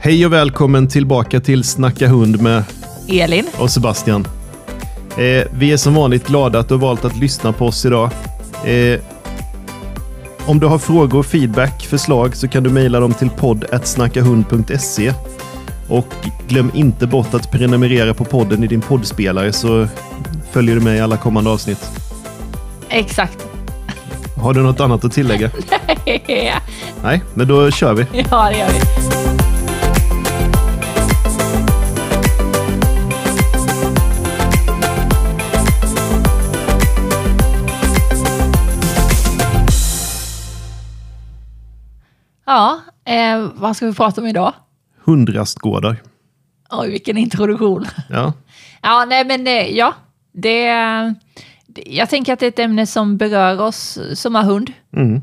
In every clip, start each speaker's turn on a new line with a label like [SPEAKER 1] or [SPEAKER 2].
[SPEAKER 1] Hej och välkommen tillbaka till Snacka hund med
[SPEAKER 2] Elin.
[SPEAKER 1] och Sebastian. Eh, vi är som vanligt glada att du har valt att lyssna på oss idag. Eh, om du har frågor, feedback, förslag så kan du mejla dem till podd.snackahund.se. Och glöm inte bort att prenumerera på podden i din poddspelare så följer du med i alla kommande avsnitt.
[SPEAKER 2] Exakt.
[SPEAKER 1] Har du något annat att tillägga? Nej, men då kör vi.
[SPEAKER 2] ja, det gör vi. Ja, eh, vad ska vi prata om idag?
[SPEAKER 1] Hundrastgårdar.
[SPEAKER 2] Oj, vilken introduktion.
[SPEAKER 1] Ja.
[SPEAKER 2] Ja, nej men eh, ja, det, det, jag tänker att det är ett ämne som berör oss som har hund.
[SPEAKER 1] Mm.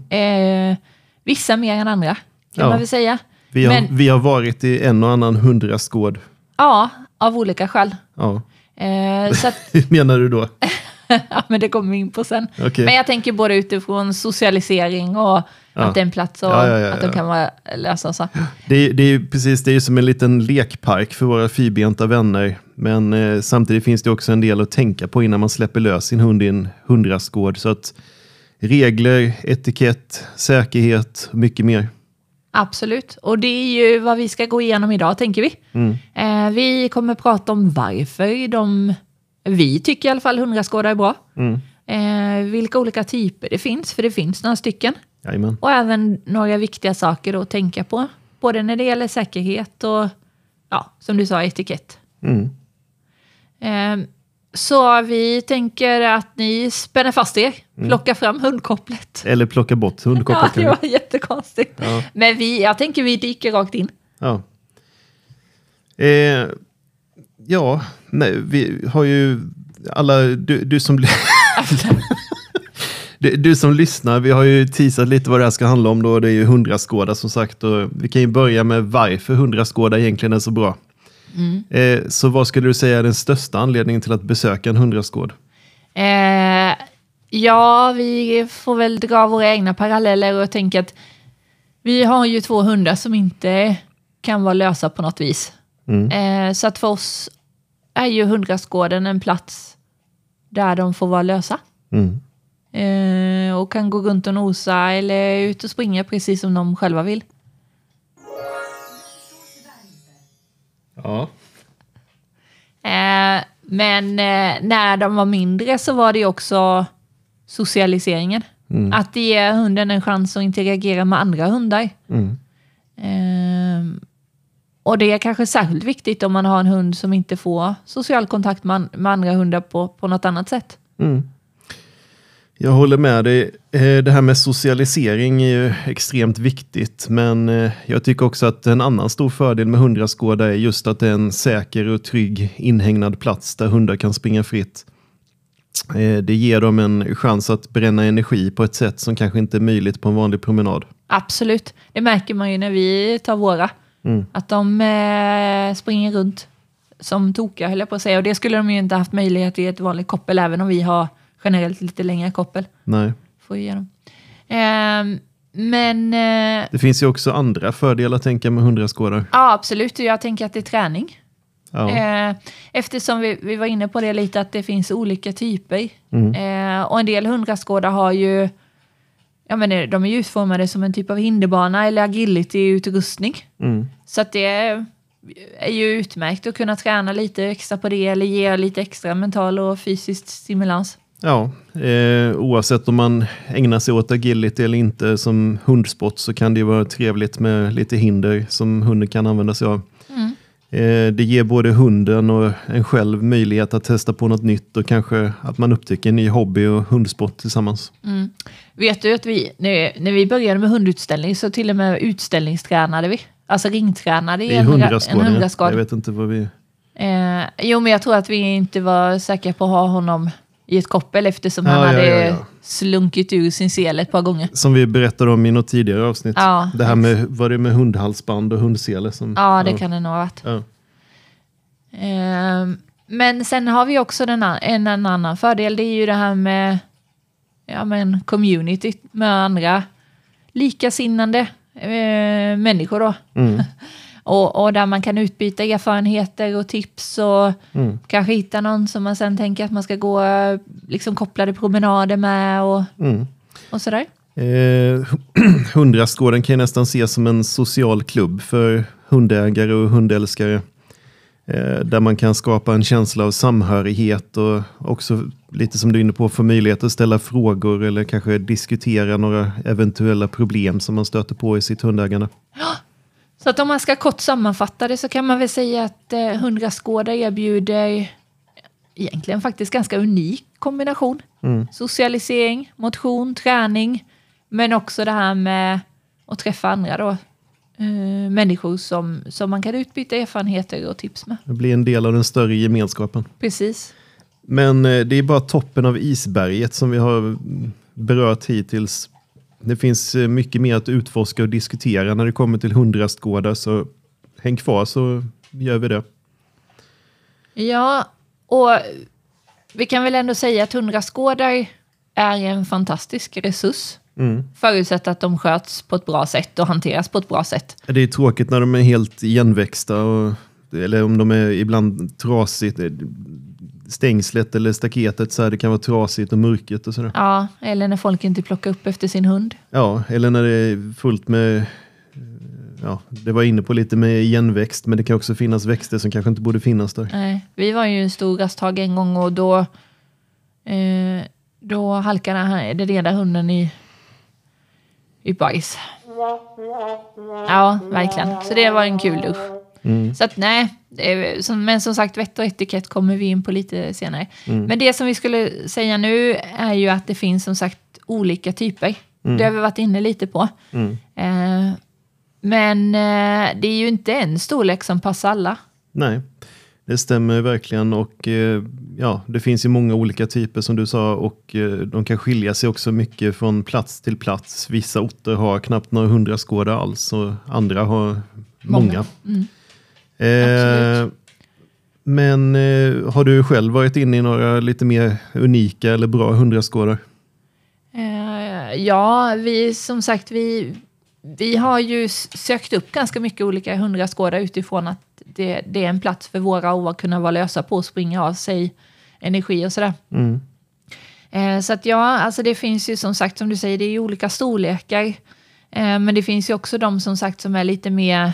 [SPEAKER 2] Eh, vissa mer än andra, kan
[SPEAKER 1] Ja.
[SPEAKER 2] man väl säga.
[SPEAKER 1] Vi, har,
[SPEAKER 2] Men-
[SPEAKER 1] vi har varit i en och annan hundrastgård.
[SPEAKER 2] Ja, av olika skäl.
[SPEAKER 1] Ja.
[SPEAKER 2] Eh, så att,
[SPEAKER 1] Hur menar du då?
[SPEAKER 2] ja, men det kommer vi in på sen.
[SPEAKER 1] Okej.
[SPEAKER 2] Men jag tänker både utifrån socialisering och
[SPEAKER 1] Ja.
[SPEAKER 2] att det är en plats och
[SPEAKER 1] Ja, ja, ja,
[SPEAKER 2] att de
[SPEAKER 1] ja.
[SPEAKER 2] kan vara lösa och så.
[SPEAKER 1] Det, är- det är ju precis, det är ju som en liten lekpark för våra fyrbenta vänner. Men eh, samtidigt finns det också en del att tänka på innan man släpper lös sin hund i en hundrastgård. Så att regler, etikett, säkerhet, mycket mer.
[SPEAKER 2] Absolut, och det är ju vad vi ska gå igenom idag tänker vi.
[SPEAKER 1] Mm.
[SPEAKER 2] Eh, vi kommer prata om varför de, vi tycker i alla fall hundraskådar är bra.
[SPEAKER 1] Mm.
[SPEAKER 2] Eh, vilka olika typer det finns, för det finns några stycken.
[SPEAKER 1] Jajamän.
[SPEAKER 2] Och även några viktiga saker att tänka på. Både när det gäller säkerhet och, ja, som du sa, etikett.
[SPEAKER 1] Mm.
[SPEAKER 2] Eh, så vi tänker att ni spänner fast er,
[SPEAKER 1] Mm.
[SPEAKER 2] plockar fram hundkopplet.
[SPEAKER 1] Eller plocka bort
[SPEAKER 2] Ja,
[SPEAKER 1] hundkopplet.
[SPEAKER 2] det
[SPEAKER 1] Ja,
[SPEAKER 2] var jättekonstigt.
[SPEAKER 1] Ja.
[SPEAKER 2] Men vi, jag tänker vi dyker rakt in.
[SPEAKER 1] ja. Eh, ja, nej, vi har ju alla, du, du som... Du, du som lyssnar, vi har ju teasat lite vad det här ska handla om då. Det är ju hundraskåda som sagt. Och vi kan ju börja med varför hundraskåda egentligen är så bra. Eh, så vad skulle du säga är den största anledningen till att besöka en hundraskåd?
[SPEAKER 2] Eh, ja, vi får väl dra våra egna paralleller och tänka att vi har ju två hundar som inte kan vara lösa på något vis.
[SPEAKER 1] Mm.
[SPEAKER 2] Eh, så att för oss är ju hundrastgården en plats där de får vara lösa.
[SPEAKER 1] Mm.
[SPEAKER 2] Eh, och kan gå runt och nosa eller ut och springa precis som de själva vill.
[SPEAKER 1] Ja.
[SPEAKER 2] Eh, men eh, när de var mindre så var det ju också socialiseringen.
[SPEAKER 1] Mm.
[SPEAKER 2] Att ge hunden en chans att interagera med andra hundar.
[SPEAKER 1] Mm.
[SPEAKER 2] Ehm, och det är kanske särskilt viktigt om man har en hund som inte får social kontakt med, an- med andra hundar på, på något annat sätt.
[SPEAKER 1] Mm. Jag håller med dig. Eh, Det här med socialisering är ju extremt viktigt, men eh, jag tycker också att en annan stor fördel med hundraskåda är just att det är en säker och trygg inhägnad plats där hundar kan springa fritt. Eh, Det ger dem en chans att bränna energi på ett sätt som kanske inte är möjligt på en vanlig promenad.
[SPEAKER 2] Absolut, det märker man ju när vi tar våra.
[SPEAKER 1] Mm.
[SPEAKER 2] Att de eh, springer runt som tokiga höll jag på att säga. Och det skulle de ju inte haft möjlighet vid ett vanligt koppel, även om vi har generellt lite längre koppel.
[SPEAKER 1] Nej.
[SPEAKER 2] Får ju ge dem. Ehm, men eh,
[SPEAKER 1] Det finns ju också andra fördelar tänker jag med hundraskådar.
[SPEAKER 2] ja, absolut, jag tänker att det är träning.
[SPEAKER 1] Ja.
[SPEAKER 2] Eh, eftersom vi, vi var inne på det lite, att det finns olika typer.
[SPEAKER 1] Mm.
[SPEAKER 2] Eh, och en del hundrastgårdar har ju... Ja, men eh, de är ju utformade som en typ av hinderbana eller agility-utrustning.
[SPEAKER 1] Mm.
[SPEAKER 2] Så att det är är ju utmärkt att kunna träna lite extra på det eller ge lite extra mental och fysisk stimulans.
[SPEAKER 1] Ja, eh, oavsett om man ägnar sig åt agility eller inte som hundsport så kan det ju vara trevligt med lite hinder som hunden kan använda sig av.
[SPEAKER 2] Mm.
[SPEAKER 1] Eh, det ger både hunden och en själv möjlighet att testa på något nytt och kanske att man upptäcker en ny hobby och hundsport tillsammans.
[SPEAKER 2] Vet du att vi, när, när vi började med hundutställning så till och med utställningstränade vi. Alltså ringtränade i
[SPEAKER 1] Det är
[SPEAKER 2] en, en
[SPEAKER 1] hundraskåd.
[SPEAKER 2] hundrastgård.
[SPEAKER 1] Jag vet inte vad vi...
[SPEAKER 2] Eh, jo, men jag tror att vi inte var säkra på att ha honom i ett koppel eftersom
[SPEAKER 1] Ja,
[SPEAKER 2] han
[SPEAKER 1] ja,
[SPEAKER 2] hade
[SPEAKER 1] ja, ja.
[SPEAKER 2] slunkit ur sin sele ett par gånger.
[SPEAKER 1] Som vi berättade om i något tidigare avsnitt.
[SPEAKER 2] Ja.
[SPEAKER 1] det här med, var det med hundhalsband och hundsele? Som,
[SPEAKER 2] Ja, det kan det nog ha varit.
[SPEAKER 1] Ja.
[SPEAKER 2] Eh, men sen har vi också den, an- en, en annan fördel. Det är ju det här med ja, men community med andra likasinnande eh, människor. Då.
[SPEAKER 1] Mm.
[SPEAKER 2] Och, och där man kan utbyta erfarenheter och tips och
[SPEAKER 1] Mm.
[SPEAKER 2] kanske hitta någon som man sen tänker att man ska gå eh, liksom, kopplade promenader med och,
[SPEAKER 1] Mm.
[SPEAKER 2] och sådär.
[SPEAKER 1] Eh, hundrastgården kan ju nästan ses som en social klubb för hundägare och hundälskare. Eh, där man kan skapa en känsla av samhörighet och också lite som du är inne på få möjlighet att ställa frågor eller kanske diskutera några eventuella problem som man stöter på i sitt hundägande.
[SPEAKER 2] Så att om man ska kort sammanfatta det så kan man väl säga att eh, hundrastgårdar erbjuder egentligen faktiskt ganska unik kombination.
[SPEAKER 1] Mm.
[SPEAKER 2] Socialisering, motion, träning, men också det här med att träffa andra då. Eh, människor som, som man kan utbyta erfarenheter och tips med.
[SPEAKER 1] Det blir en del av den större gemenskapen.
[SPEAKER 2] Precis.
[SPEAKER 1] Men eh, det är bara toppen av isberget som vi har mm, berört hittills. Det finns eh, mycket mer att utforska och diskutera när det kommer till hundrastgårdar, så häng kvar så gör vi det.
[SPEAKER 2] Ja, och vi kan väl ändå säga att hundrastgårdar är en fantastisk resurs.
[SPEAKER 1] Mm.
[SPEAKER 2] Förutsatt att de sköts på ett bra sätt och hanteras på ett bra sätt.
[SPEAKER 1] Det är tråkigt när de är helt igenväxta, och, eller om de är ibland trasigt. eh, Stängslet eller staketet så här, det kan vara trasigt och mörkt och sådär.
[SPEAKER 2] Ja, eller när folk inte plockar upp efter sin hund.
[SPEAKER 1] Ja, eller när det är fullt med, eh, ja, det var jag inne på lite med igenväxt, men det kan också finnas växter som kanske inte borde finnas där.
[SPEAKER 2] Nej, vi var ju en stor rasthage en gång och då, eh, då halkade han, den ena hunden i, i bajs. Ja, verkligen. Så det var en kul dusch.
[SPEAKER 1] Mm.
[SPEAKER 2] Så att nej, det är- som- men som sagt vett och etikett kommer vi in på lite senare.
[SPEAKER 1] Mm.
[SPEAKER 2] Men det som vi skulle säga nu är ju att det finns som sagt olika typer. Det har vi varit inne lite på.
[SPEAKER 1] Mm.
[SPEAKER 2] Eh, men eh, det är ju inte en storlek som passar alla.
[SPEAKER 1] Nej, det stämmer verkligen. Och eh, ja, Det finns ju många olika typer som du sa och eh, de kan skilja sig också mycket från plats till plats. Vissa orter har knappt några hundra skådar alls och andra har många.
[SPEAKER 2] Många. Mm.
[SPEAKER 1] Eh,
[SPEAKER 2] Absolut.
[SPEAKER 1] men eh, har du själv varit inne i några lite mer unika eller bra hundraskådar?
[SPEAKER 2] Eh, ja, vi som sagt, vi, vi har ju s- sökt upp ganska mycket olika hundrastgårdar utifrån att det, det är en plats för våra och att kunna vara lösa på och springa av sig energi och sådär.
[SPEAKER 1] Mm.
[SPEAKER 2] Eh, så att ja, alltså det finns ju som sagt, som du säger, det är ju olika storlekar. Eh, men det finns ju också de som sagt som är lite mer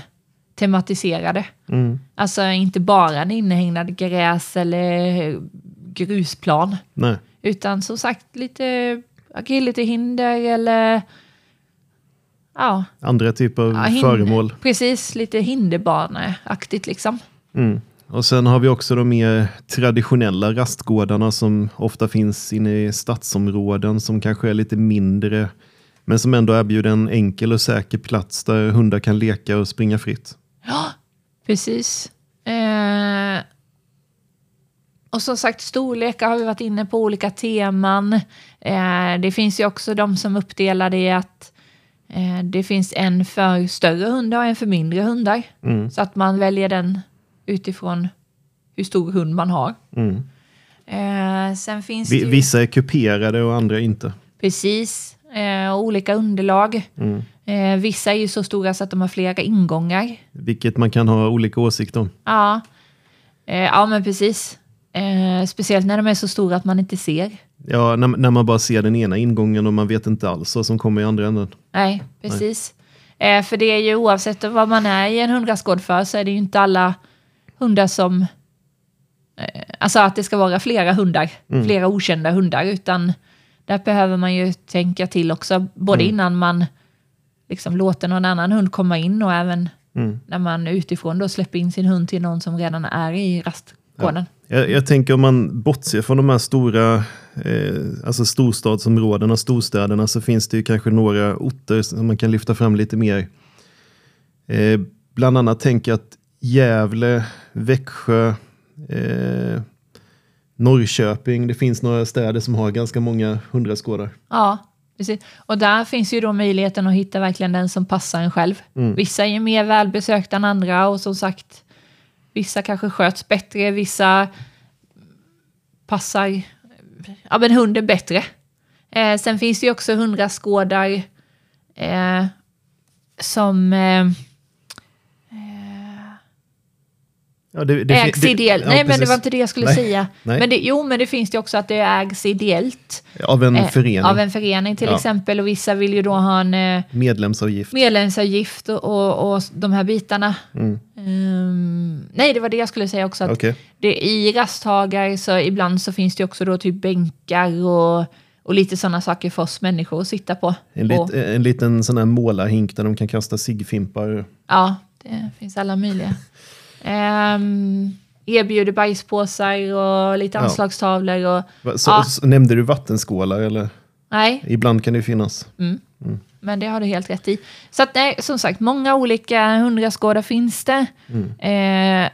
[SPEAKER 2] tematiserade.
[SPEAKER 1] Mm.
[SPEAKER 2] Alltså inte bara en inhägnad gräs eller grusplan.
[SPEAKER 1] Nej.
[SPEAKER 2] Utan som sagt lite agilityhinder eller... Ja,
[SPEAKER 1] Andra typer av
[SPEAKER 2] ja, hin-
[SPEAKER 1] Mm, föremål?
[SPEAKER 2] Precis, lite hinderbaneaktigt liksom.
[SPEAKER 1] Mm. Och sen har vi också de mer traditionella rastgårdarna som ofta finns inne i stadsområden som kanske är lite mindre men som ändå erbjuder en enkel och säker plats där hundar kan leka och springa fritt.
[SPEAKER 2] Ja, precis. Eh, och som sagt, storlekar har vi varit inne på, olika teman. Eh, det finns ju också de som uppdelar det i att eh, det finns en för större hundar och en för mindre hundar.
[SPEAKER 1] Mm.
[SPEAKER 2] Så att man väljer den utifrån hur stor hund man har.
[SPEAKER 1] Mm.
[SPEAKER 2] Eh, sen finns det
[SPEAKER 1] Vi,
[SPEAKER 2] ju...
[SPEAKER 1] vissa är kuperade och andra inte.
[SPEAKER 2] Precis. Eh, och olika underlag.
[SPEAKER 1] Mm.
[SPEAKER 2] Eh, vissa är ju så stora så att de har flera ingångar.
[SPEAKER 1] Vilket man kan ha olika åsikter om.
[SPEAKER 2] Ja, eh, ja men precis. Eh, speciellt när de är så stora att man inte ser.
[SPEAKER 1] Ja, när, när man bara ser den ena ingången och man vet inte alls vad som kommer i andra änden.
[SPEAKER 2] Nej, precis. Eh, för det är ju oavsett vad man är i en hundrastgård för så är det ju inte alla hundar som... Eh, alltså att det ska vara flera hundar, flera okända hundar, utan där behöver man ju tänka till också, både innan man liksom låter någon annan hund komma in och även
[SPEAKER 1] Mm.
[SPEAKER 2] när man utifrån då släpper in sin hund till någon som redan är i rastgården.
[SPEAKER 1] Jag, jag tänker om man bortser från de här stora eh, alltså storstadsområdena, storstäderna, så finns det ju kanske några orter som man kan lyfta fram lite mer. Eh, bland annat tänker jag att Gävle, Växjö, eh, Norrköping, det finns några städer som har ganska många hundraskådar.
[SPEAKER 2] Ja, precis. Och där finns ju då möjligheten att hitta verkligen den som passar en själv.
[SPEAKER 1] Mm.
[SPEAKER 2] Vissa är ju mer välbesökta än andra och som sagt, vissa kanske sköts bättre, vissa passar ja, men hunden bättre. Eh, sen finns det ju också hundrastgårdar eh, som eh, eh,
[SPEAKER 1] Ja, det, det,
[SPEAKER 2] Ägs
[SPEAKER 1] det-
[SPEAKER 2] ideellt.
[SPEAKER 1] ja,
[SPEAKER 2] Nej, men det
[SPEAKER 1] precis.
[SPEAKER 2] var inte det jag skulle
[SPEAKER 1] Nej,
[SPEAKER 2] säga.
[SPEAKER 1] nej.
[SPEAKER 2] Men det, jo, men det finns det också att det ägs ideellt.
[SPEAKER 1] Av en
[SPEAKER 2] eh,
[SPEAKER 1] Mm, förening.
[SPEAKER 2] Av en förening till
[SPEAKER 1] Ja.
[SPEAKER 2] exempel. Och vissa vill ju då ha en eh,
[SPEAKER 1] Medlemsavgift.
[SPEAKER 2] medlemsavgift och, och, och de här bitarna.
[SPEAKER 1] Mm.
[SPEAKER 2] Ehm, nej, det var det jag skulle säga också. Att
[SPEAKER 1] Okej.
[SPEAKER 2] det, I rasthagar så ibland så finns det ju också då typ bänkar och, och lite sådana saker för oss människor att sitta på.
[SPEAKER 1] En,
[SPEAKER 2] och,
[SPEAKER 1] lit, en liten sån här målarhink där de kan kasta ciggfimpar.
[SPEAKER 2] ja, det finns alla möjliga. Ehm, erbjuder bajspåsar och lite
[SPEAKER 1] Ja.
[SPEAKER 2] anslagstavlor och
[SPEAKER 1] Va, Så,
[SPEAKER 2] Ja.
[SPEAKER 1] så, nämnde du vattenskålar eller?
[SPEAKER 2] nej,
[SPEAKER 1] Ibland kan det ju finnas.
[SPEAKER 2] Mm. men det har du helt rätt i. Så att nej, som sagt, många olika hundraskådar finns det.
[SPEAKER 1] Mm.
[SPEAKER 2] Eh,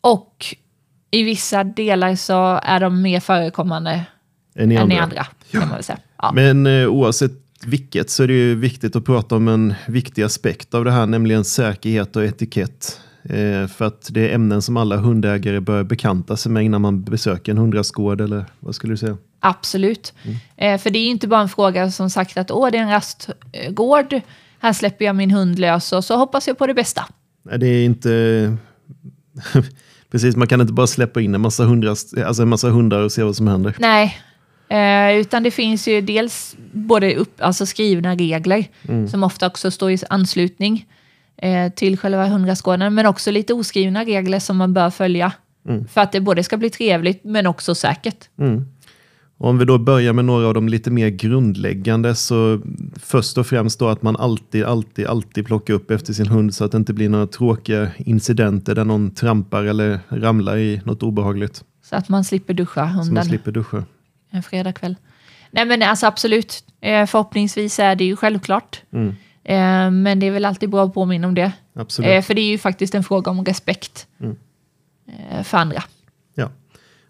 [SPEAKER 2] och i vissa delar så är de mer förekommande
[SPEAKER 1] Än i
[SPEAKER 2] än
[SPEAKER 1] andra.
[SPEAKER 2] i andra. Kan man väl säga. Ja.
[SPEAKER 1] Men eh, oavsett vilket så är det ju viktigt att prata om en viktig aspekt av det här, nämligen säkerhet och etikett. Eh, för att det är ämnen som alla hundägare bör bekanta sig med innan man besöker en hundrastgård eller vad skulle du säga?
[SPEAKER 2] Absolut.
[SPEAKER 1] Mm.
[SPEAKER 2] Eh, för det är ju inte bara en fråga som sagt att åh, det är en rastgård, här släpper jag min hund lös och så hoppas jag på det bästa.
[SPEAKER 1] Nej, det är inte... Precis, man kan inte bara släppa in en massa, hundrast... alltså en massa hundar och se vad som händer.
[SPEAKER 2] Nej, eh, utan det finns ju dels både upp, alltså skrivna regler
[SPEAKER 1] Mm.
[SPEAKER 2] som ofta också står i anslutning eh, till själva hundrastgården, men också lite oskrivna regler som man bör följa
[SPEAKER 1] Mm.
[SPEAKER 2] för att det både ska bli trevligt men också säkert.
[SPEAKER 1] Om vi då börjar med några av de lite mer grundläggande så först och främst då att man alltid, alltid, alltid plockar upp efter sin hund så att det inte blir några tråkiga incidenter där någon trampar eller ramlar i något obehagligt.
[SPEAKER 2] Så att man slipper duscha
[SPEAKER 1] Så man
[SPEAKER 2] hunden.
[SPEAKER 1] slipper duscha.
[SPEAKER 2] en fredagkväll. Nej men alltså absolut, eh, förhoppningsvis är det ju självklart.
[SPEAKER 1] Mm.
[SPEAKER 2] Eh, men det är väl alltid bra att påminna om det.
[SPEAKER 1] Absolut. Mm.
[SPEAKER 2] Eh, för det är ju faktiskt en fråga om respekt eh, för andra.
[SPEAKER 1] Ja.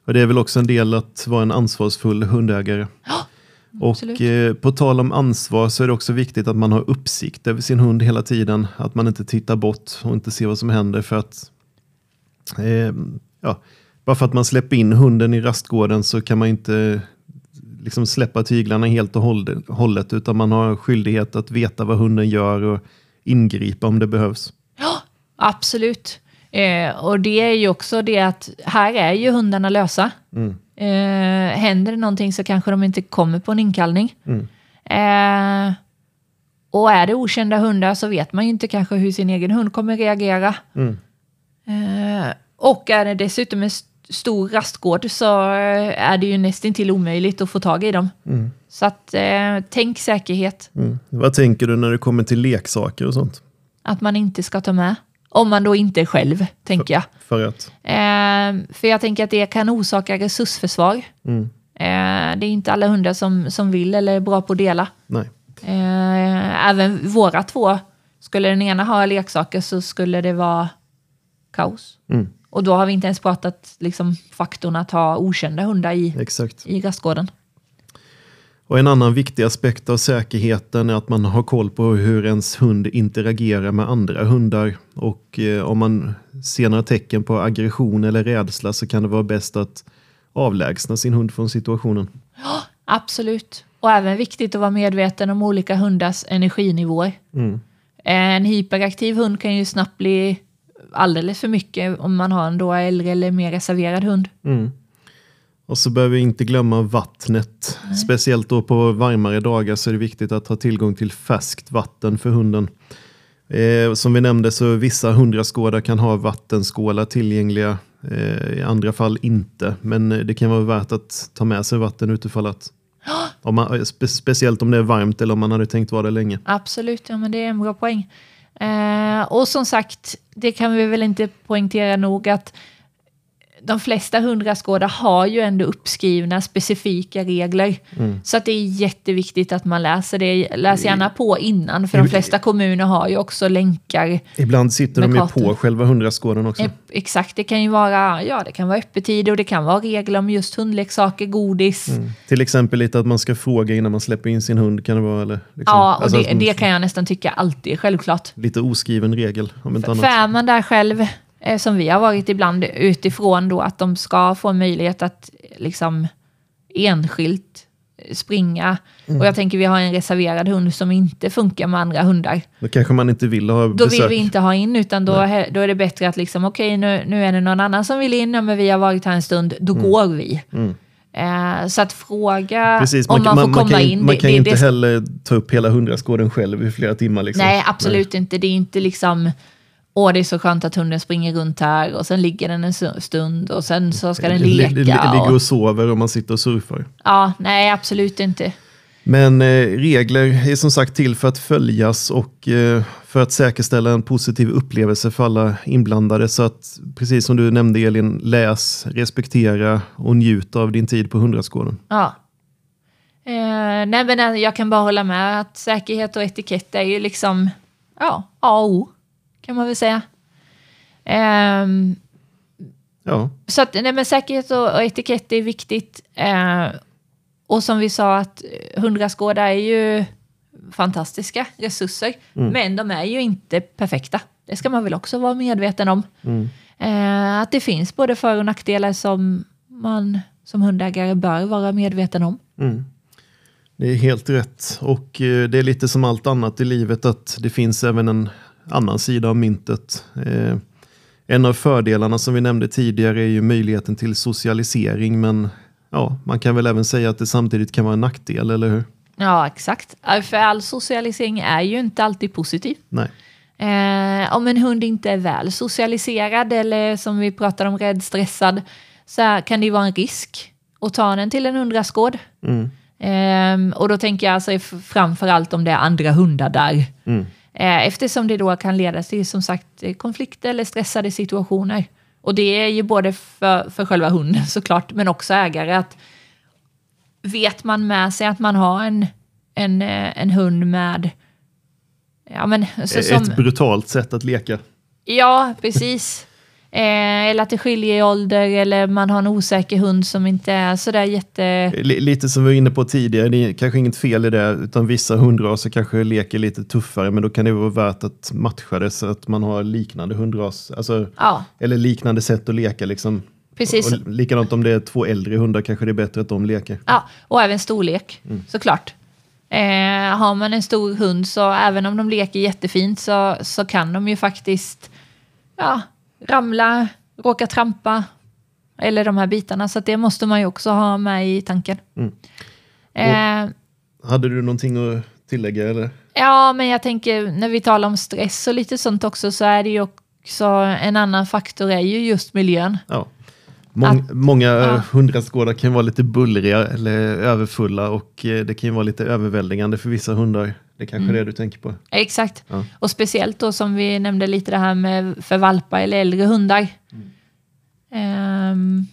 [SPEAKER 1] Och det är väl också en del att vara en ansvarsfull hundägare.
[SPEAKER 2] absolut.
[SPEAKER 1] Och eh, på tal om ansvar så är det också viktigt att man har uppsikt över sin hund hela tiden. Att man inte tittar bort och inte ser vad som händer för att eh, ja, bara för att man släpper in hunden i rastgården så kan man inte liksom släppa tyglarna helt och håll- hållet utan man har skyldighet att veta vad hunden gör och ingripa om det behövs.
[SPEAKER 2] Absolut. Eh, och det är ju också det att här är ju hundarna lösa. Eh, händer det någonting så kanske de inte kommer på en inkallning. Eh, och är det okända hundar så vet man ju inte kanske hur sin egen hund kommer reagera. Eh, och är det dessutom en st- stor rastgård så eh, är det ju nästintill omöjligt att få tag i dem. Så att, eh, tänk säkerhet,
[SPEAKER 1] Mm. Vad tänker du när det kommer till leksaker och sånt?
[SPEAKER 2] att man inte ska ta med. Om man då inte är själv, tänker jag.
[SPEAKER 1] För att?
[SPEAKER 2] Eh, för jag tänker att det kan orsaka resursförsvar. Eh, det är inte alla hundar som, som vill eller är bra på att dela.
[SPEAKER 1] Nej.
[SPEAKER 2] Eh, även våra två, skulle den ena ha leksaker så skulle det vara kaos. Och då har vi inte ens pratat liksom, faktorn att ha okända hundar i,
[SPEAKER 1] Exakt.
[SPEAKER 2] i rastgården.
[SPEAKER 1] Och en annan viktig aspekt av säkerheten är att man har koll på hur ens hund interagerar med andra hundar. Och eh, om man ser några tecken på aggression eller rädsla så kan det vara bäst att avlägsna sin hund från situationen.
[SPEAKER 2] Absolut. Och även viktigt att vara medveten om olika hundars energinivåer. En hyperaktiv hund kan ju snabbt bli alldeles för mycket om man har en då äldre eller mer reserverad hund.
[SPEAKER 1] Och så behöver vi inte glömma vattnet. Speciellt då på varmare dagar så är det viktigt att ha tillgång till färskt vatten för hunden. Eh, som vi nämnde så vissa hundraskådar kan ha vattenskålar tillgängliga. Eh, I andra fall inte. Men eh, det kan vara värt att ta med sig vatten utifall att om man, eh, spe, speciellt om det är varmt eller om man hade tänkt vara där länge.
[SPEAKER 2] Absolut, ja, men det är en bra poäng. Eh, och som sagt, det kan vi väl inte poängtera nog att de flesta hundrastgårdar har ju ändå uppskrivna specifika regler. Så att det är jätteviktigt att man läser det. Läs gärna på innan, för de flesta kommuner har ju också länkar.
[SPEAKER 1] Ibland sitter
[SPEAKER 2] Med
[SPEAKER 1] de ju
[SPEAKER 2] kartor.
[SPEAKER 1] på själva hundraskådan också.
[SPEAKER 2] Eh, Exakt, det kan ju vara, ja, det kan vara öppettider och det kan vara regler om just hundleksaker, godis.
[SPEAKER 1] Mm. Till exempel lite att man ska fråga innan man släpper in sin hund. Kan det vara, eller, liksom.
[SPEAKER 2] Ja, och
[SPEAKER 1] Alltså
[SPEAKER 2] det,
[SPEAKER 1] att-
[SPEAKER 2] det kan jag nästan tycka alltid är självklart.
[SPEAKER 1] Lite oskriven regel om inte annat.
[SPEAKER 2] För är man där själv, eh, som vi har varit ibland, utifrån då att de ska få en möjlighet att eh, liksom enskilt springa.
[SPEAKER 1] Mm.
[SPEAKER 2] Och jag tänker vi har en reserverad hund som inte funkar med andra hundar.
[SPEAKER 1] Då kanske man inte vill ha
[SPEAKER 2] Då vill
[SPEAKER 1] besök.
[SPEAKER 2] vi inte ha in, utan då, he- då är det bättre att liksom, okej, nu, nu är det någon annan som vill in, ja, men vi har varit här en stund, då
[SPEAKER 1] Mm.
[SPEAKER 2] går vi. Eh, så att fråga
[SPEAKER 1] Precis,
[SPEAKER 2] om man, får komma
[SPEAKER 1] kan,
[SPEAKER 2] in,
[SPEAKER 1] man kan ju
[SPEAKER 2] det,
[SPEAKER 1] inte
[SPEAKER 2] det, det,
[SPEAKER 1] heller ta upp hela hundrastgården själv i flera timmar. Liksom.
[SPEAKER 2] Nej, absolut inte. Det är inte liksom, åh, det är så skönt att hunden springer runt här och sen ligger den en su- stund och sen så ska den
[SPEAKER 1] Li- li-
[SPEAKER 2] leka.
[SPEAKER 1] Ligger
[SPEAKER 2] Och,
[SPEAKER 1] och sover och man sitter och surfar.
[SPEAKER 2] ja, nej, absolut inte.
[SPEAKER 1] Men eh, regler är som sagt till för att följas och eh, för att säkerställa en positiv upplevelse för alla inblandade. Så att, precis som du nämnde Elin, läs, respektera och njut av din tid på hundrastgården.
[SPEAKER 2] Ja. Eh, nej, men eh, jag kan bara hålla med att säkerhet och etikett är ju liksom ja, A och O, kan man väl säga. Ehm,
[SPEAKER 1] Ja,
[SPEAKER 2] så att, nej, men säkerhet och, och etikett är viktigt. Eh, och som vi sa, att eh, hundrastgårdar är ju fantastiska resurser, men de är ju inte perfekta. Det ska man väl också vara medveten om. Eh, att det finns både för och nackdelar som man som hundägare bör vara medveten om.
[SPEAKER 1] det är helt rätt. Och eh, det är lite som allt annat i livet att det finns även en annan sida av myntet. Eh, en av fördelarna som vi nämnde tidigare är ju möjligheten till socialisering, men ja, man kan väl även säga att det samtidigt kan vara en nackdel, eller hur?
[SPEAKER 2] Ja, exakt. Äh, För all socialisering är ju inte alltid positiv.
[SPEAKER 1] Nej.
[SPEAKER 2] Eh, om en hund inte är väl socialiserad eller som vi pratade om, rädd, stressad, så här kan det ju vara en risk att ta den till en hundrastgård.
[SPEAKER 1] Mm.
[SPEAKER 2] Ehm, och då tänker jag alltså f- framför allt om det är andra hundar där.
[SPEAKER 1] Mm.
[SPEAKER 2] Eh, eftersom det då kan leda till som sagt eh, konflikter eller stressade situationer. Och det är ju både för, för själva hunden såklart, men också ägare. att Vet man med sig att man har en, en, eh, en hund med... Ja, men, så, som,
[SPEAKER 1] Ett brutalt sätt att leka.
[SPEAKER 2] Ja, precis. Eh, eller att det skiljer i ålder eller man har en osäker hund som inte är sådär jätte...
[SPEAKER 1] Li- Lite som vi var inne på tidigare, det är kanske inget fel i det, utan vissa hundraser kanske leker lite tuffare, men då kan det vara värt att matcha det så att man har liknande hundras, alltså,
[SPEAKER 2] Ja,
[SPEAKER 1] eller liknande sätt att leka. Liksom.
[SPEAKER 2] precis.
[SPEAKER 1] Och likadant om det är två äldre hundar kanske det är bättre att de leker.
[SPEAKER 2] Ja, och även storlek, såklart. Eh, har man en stor hund så även om de leker jättefint så, så kan de ju faktiskt ja, ramla, råka trampa eller de här bitarna. Så att det måste man ju också ha med i tanken.
[SPEAKER 1] Mm.
[SPEAKER 2] Eh,
[SPEAKER 1] Hade du någonting att tillägga? Eller?
[SPEAKER 2] Ja, men jag tänker när vi talar om stress och lite sånt också så är det ju också en annan faktor är ju just miljön.
[SPEAKER 1] Ja. Mång, många
[SPEAKER 2] ja.
[SPEAKER 1] hundrastgårdar kan vara lite bullriga eller överfulla och eh, det kan ju vara lite överväldigande för vissa hundar. Det är kanske
[SPEAKER 2] Mm.
[SPEAKER 1] är det du tänker på?
[SPEAKER 2] Exakt.
[SPEAKER 1] Ja.
[SPEAKER 2] Och speciellt då som vi nämnde lite det här med för valpar eller äldre hundar. Ehm,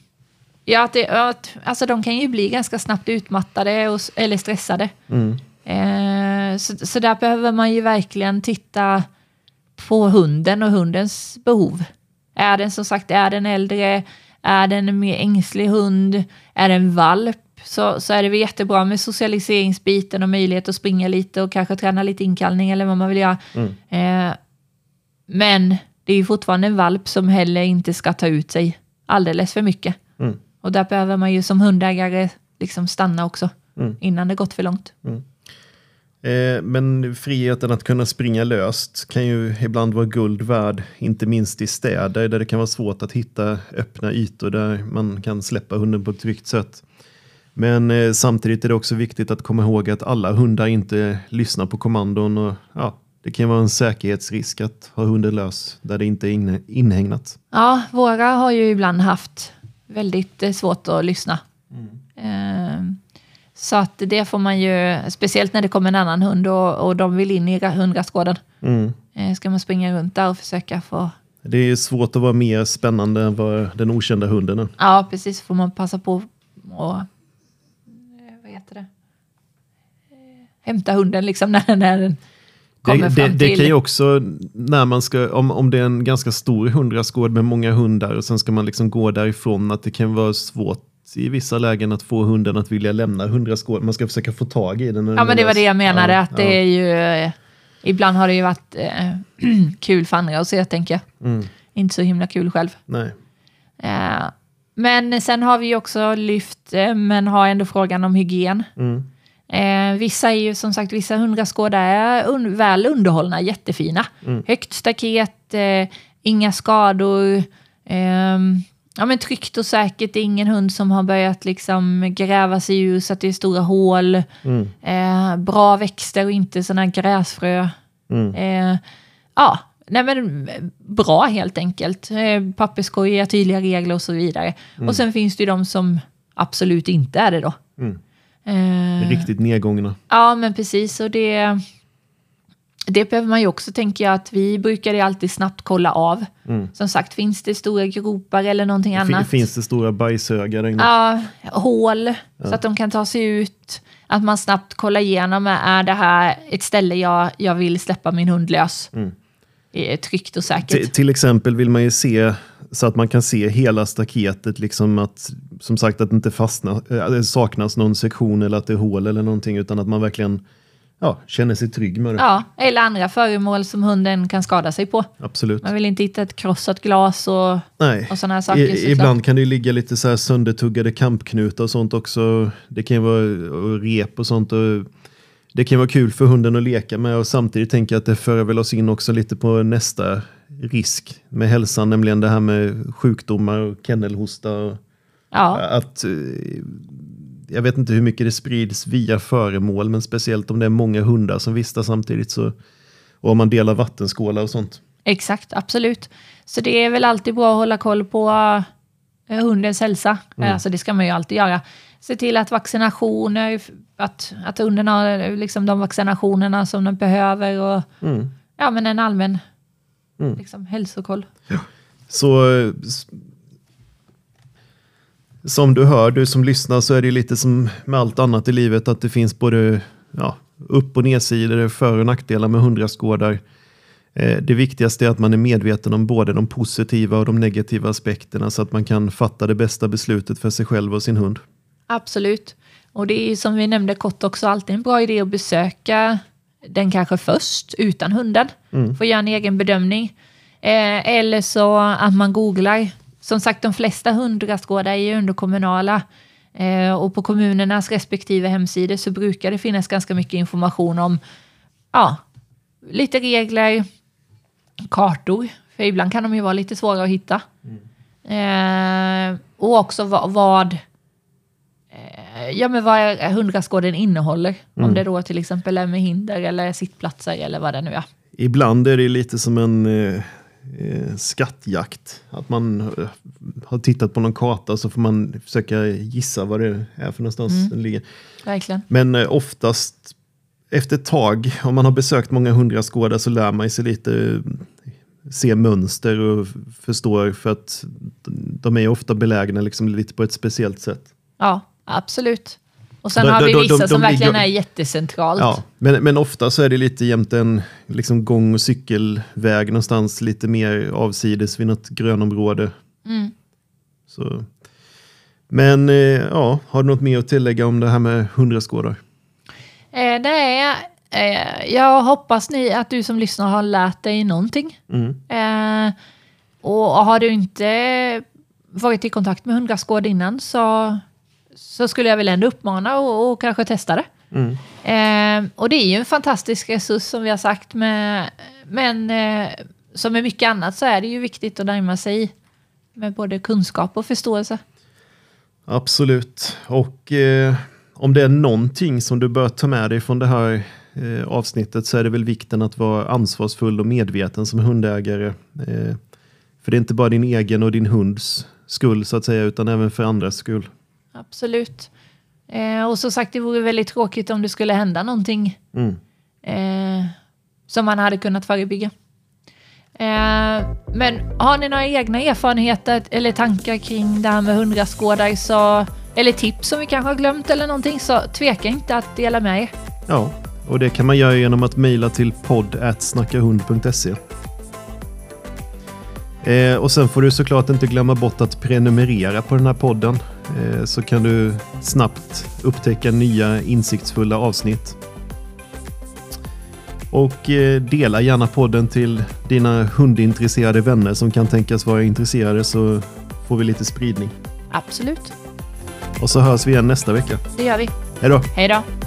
[SPEAKER 2] ja, att det, att, alltså de kan ju bli ganska snabbt utmattade och, s- eller stressade.
[SPEAKER 1] Mm.
[SPEAKER 2] Eh, så, så där behöver man ju verkligen titta på hunden och hundens behov. Är den som sagt, är den äldre, är den en mer ängslig hund, är den valp, så, så är det väl jättebra med socialiseringsbiten och möjlighet att springa lite och kanske träna lite inkallning eller vad man vill göra.
[SPEAKER 1] Mm.
[SPEAKER 2] Eh, men det är ju fortfarande en valp som heller inte ska ta ut sig alldeles för mycket.
[SPEAKER 1] Mm.
[SPEAKER 2] Och där behöver man ju som hundägare liksom stanna också
[SPEAKER 1] Mm.
[SPEAKER 2] innan det gått för långt.
[SPEAKER 1] Eh, Men friheten att kunna springa löst kan ju ibland vara guld värd, inte minst i städer där det kan vara svårt att hitta öppna ytor där man kan släppa hunden på ett tryggt sätt. Men eh, samtidigt är det också viktigt att komma ihåg att alla hundar inte lyssnar på kommandon och ja, det kan vara en säkerhetsrisk att ha hunden lös där det inte är inne- inhägnat.
[SPEAKER 2] Ja, våra har ju ibland haft väldigt eh, svårt att lyssna.
[SPEAKER 1] Mm.
[SPEAKER 2] Ehm, Så att det får man ju, speciellt när det kommer en annan hund och, och de vill in i ra- hundrastgården.
[SPEAKER 1] Mm.
[SPEAKER 2] Eh, Ska man springa runt där och försöka få...
[SPEAKER 1] Det är ju svårt att vara mer spännande än vad den okända hunden är.
[SPEAKER 2] Ja, precis. Får man passa på och... eh, Vad heter det? Eh, Hämta hunden liksom när, när den kommer
[SPEAKER 1] Det, det,
[SPEAKER 2] fram
[SPEAKER 1] det
[SPEAKER 2] till...
[SPEAKER 1] kan ju också, när man ska, om, om det är en ganska stor hundrastgård med många hundar och sen ska man liksom gå därifrån, att det kan vara svårt i vissa lägen att få hunden att vilja lämna hundrastgården. Man ska försöka få tag i den. när
[SPEAKER 2] Ja,
[SPEAKER 1] den
[SPEAKER 2] men
[SPEAKER 1] är
[SPEAKER 2] det var
[SPEAKER 1] lös.
[SPEAKER 2] det jag menade.
[SPEAKER 1] Ja,
[SPEAKER 2] att det är ju... eh, Ibland har det ju varit eh, kul för andra att se, tänker jag.
[SPEAKER 1] Mm.
[SPEAKER 2] Inte så himla kul själv.
[SPEAKER 1] Nej.
[SPEAKER 2] Eh, Men sen har vi ju också lyft, eh, men har ändå frågan om hygien.
[SPEAKER 1] Mm.
[SPEAKER 2] Eh, vissa är ju som sagt, vissa hundraskådar är un- väl underhållna, jättefina.
[SPEAKER 1] Mm.
[SPEAKER 2] Högt staket, eh, inga skador, ehm, ja, men tryggt och säkert. Det är ingen hund som har börjat liksom gräva sig ur så att det är stora hål.
[SPEAKER 1] Mm.
[SPEAKER 2] Eh, bra växter och inte sådana gräsfrö.
[SPEAKER 1] Mm.
[SPEAKER 2] Eh, ja, nej men bra helt enkelt. Eh, papperskorgar, tydliga regler och så vidare. Och sen finns det ju de som absolut inte är det då.
[SPEAKER 1] Mm.
[SPEAKER 2] Eh,
[SPEAKER 1] Riktigt nedgångna.
[SPEAKER 2] Ja, men precis. Och det, det behöver man ju också, tänker jag, att vi brukar ju alltid snabbt kolla av.
[SPEAKER 1] Mm.
[SPEAKER 2] Som sagt, finns det stora gropar eller någonting
[SPEAKER 1] Fin-
[SPEAKER 2] Eh, annat?
[SPEAKER 1] Finns det stora bajshögar? där inne?
[SPEAKER 2] Ja, hål, så att de kan ta sig ut. Att man snabbt kollar igenom, är det här ett ställe jag, jag vill släppa min hund lös?
[SPEAKER 1] Mm.
[SPEAKER 2] Eh, Tryggt och
[SPEAKER 1] T-
[SPEAKER 2] säkert.
[SPEAKER 1] till exempel vill man ju se så att man kan se hela staketet, liksom att som sagt att det inte fastna, eh, att det saknas någon sektion eller att det är hål eller någonting, utan att man verkligen ja, känner sig trygg med det.
[SPEAKER 2] Ja, eller andra föremål som hunden kan skada sig på.
[SPEAKER 1] Absolut.
[SPEAKER 2] Man vill inte hitta ett krossat glas och,
[SPEAKER 1] Nej.
[SPEAKER 2] och sådana här saker.
[SPEAKER 1] I-
[SPEAKER 2] såklart.
[SPEAKER 1] ibland kan det ju ligga lite så här söndertuggade kampknutar och sånt också. Det kan ju vara och rep och sånt. Och det kan ju vara kul för hunden att leka med och samtidigt tänker jag att det för väl oss in också lite på nästa risk med hälsan, nämligen det här med sjukdomar och kennelhosta. Och
[SPEAKER 2] Ja,
[SPEAKER 1] Att, eh, jag vet inte hur mycket det sprids via föremål, men speciellt om det är många hundar som vistas samtidigt så, och om man delar vattenskålar och sånt.
[SPEAKER 2] exakt, absolut. Så det är väl alltid bra att hålla koll på eh, hundens hälsa.
[SPEAKER 1] Mm.
[SPEAKER 2] Eh, Alltså det ska man ju alltid göra. Se till att vaccinationer, att, att hunden har eh, liksom de vaccinationerna som den behöver och
[SPEAKER 1] Mm.
[SPEAKER 2] ja, men en allmän
[SPEAKER 1] Mm.
[SPEAKER 2] liksom, hälsokoll.
[SPEAKER 1] Så eh, s- som du hör, du som lyssnar, så är det ju lite som med allt annat i livet att det finns både ja, upp och nedsidor, för och nackdelar med hundrastgårdar. Eh, Det viktigaste är att man är medveten om både de positiva och de negativa aspekterna så att man kan fatta det bästa beslutet för sig själv och sin hund.
[SPEAKER 2] Absolut. Och det är ju som vi nämnde kort också alltid en bra idé att besöka den kanske först utan hunden. Få göra en egen bedömning. Eh, eller så att man googlar. Som sagt, de flesta hundrastgårdar är ju underkommunala. Eh, och på kommunernas respektive hemsidor så brukar det finnas ganska mycket information om ja, lite regler, kartor. För ibland kan de ju vara lite svåra att hitta. Eh, och också vad, vad Eh, ja, men vad är- hundrastgården innehåller.
[SPEAKER 1] Mm.
[SPEAKER 2] Om det då till exempel är med hinder eller sittplatser eller vad det nu är.
[SPEAKER 1] Ibland är det lite som en eh, eh, skattjakt. Att man eh, har tittat på någon karta så får man försöka gissa vad det är för någonstans den ligger.
[SPEAKER 2] Verkligen.
[SPEAKER 1] Men eh, oftast efter ett tag, om man har besökt många hundra skådar så lär man sig lite eh, se mönster och f- förstår för att de är ju ofta belägna liksom lite på ett speciellt sätt.
[SPEAKER 2] Ja, absolut. Och sen
[SPEAKER 1] De-
[SPEAKER 2] har
[SPEAKER 1] de-
[SPEAKER 2] vi
[SPEAKER 1] de-
[SPEAKER 2] vissa
[SPEAKER 1] de- de
[SPEAKER 2] som verkligen
[SPEAKER 1] ligger-
[SPEAKER 2] är jättecentralt.
[SPEAKER 1] Ja, men, men ofta så är det lite jämte en liksom gång och cykelväg någonstans lite mer avsides vid något grönområde.
[SPEAKER 2] Mm.
[SPEAKER 1] Så. Men eh, ja, har du något mer att tillägga om det här med hundra skådar?
[SPEAKER 2] Eh, det är, eh, jag hoppas ni, att du som lyssnar har lärt dig någonting.
[SPEAKER 1] Mm.
[SPEAKER 2] Eh, och har du inte varit i kontakt med hundrastgård innan så, så skulle jag väl ändå uppmana och, och kanske testa det.
[SPEAKER 1] Mm.
[SPEAKER 2] Eh, och det är ju en fantastisk resurs som vi har sagt, med, men eh, som med mycket annat så är det ju viktigt att närma sig med både kunskap och förståelse.
[SPEAKER 1] Absolut. Och eh, om det är någonting som du bör ta med dig från det här eh, avsnittet så är det väl vikten att vara ansvarsfull och medveten som hundägare. Eh, för det är inte bara din egen och din hunds skull så att säga, utan även för andras skull.
[SPEAKER 2] Absolut. Eh, och som sagt, det vore väldigt tråkigt om det skulle hända någonting
[SPEAKER 1] Mm.
[SPEAKER 2] eh, som man hade kunnat förebygga. Eh, men har ni några egna erfarenheter eller tankar kring det här med hundrastgårdar så, eller tips som vi kanske har glömt eller någonting så tveka inte att dela med er.
[SPEAKER 1] Ja, och det kan man göra genom att mejla till podd.snackahund.se. Eh, och sen får du såklart inte glömma bort att prenumerera på den här podden eh, så kan du snabbt upptäcka nya insiktsfulla avsnitt. Och eh, dela gärna podden till dina hundintresserade vänner som kan tänkas vara intresserade så får vi lite spridning. Absolut,
[SPEAKER 2] Och så hörs vi igen nästa vecka.
[SPEAKER 1] det gör vi.
[SPEAKER 2] Hej då!
[SPEAKER 1] Hej då!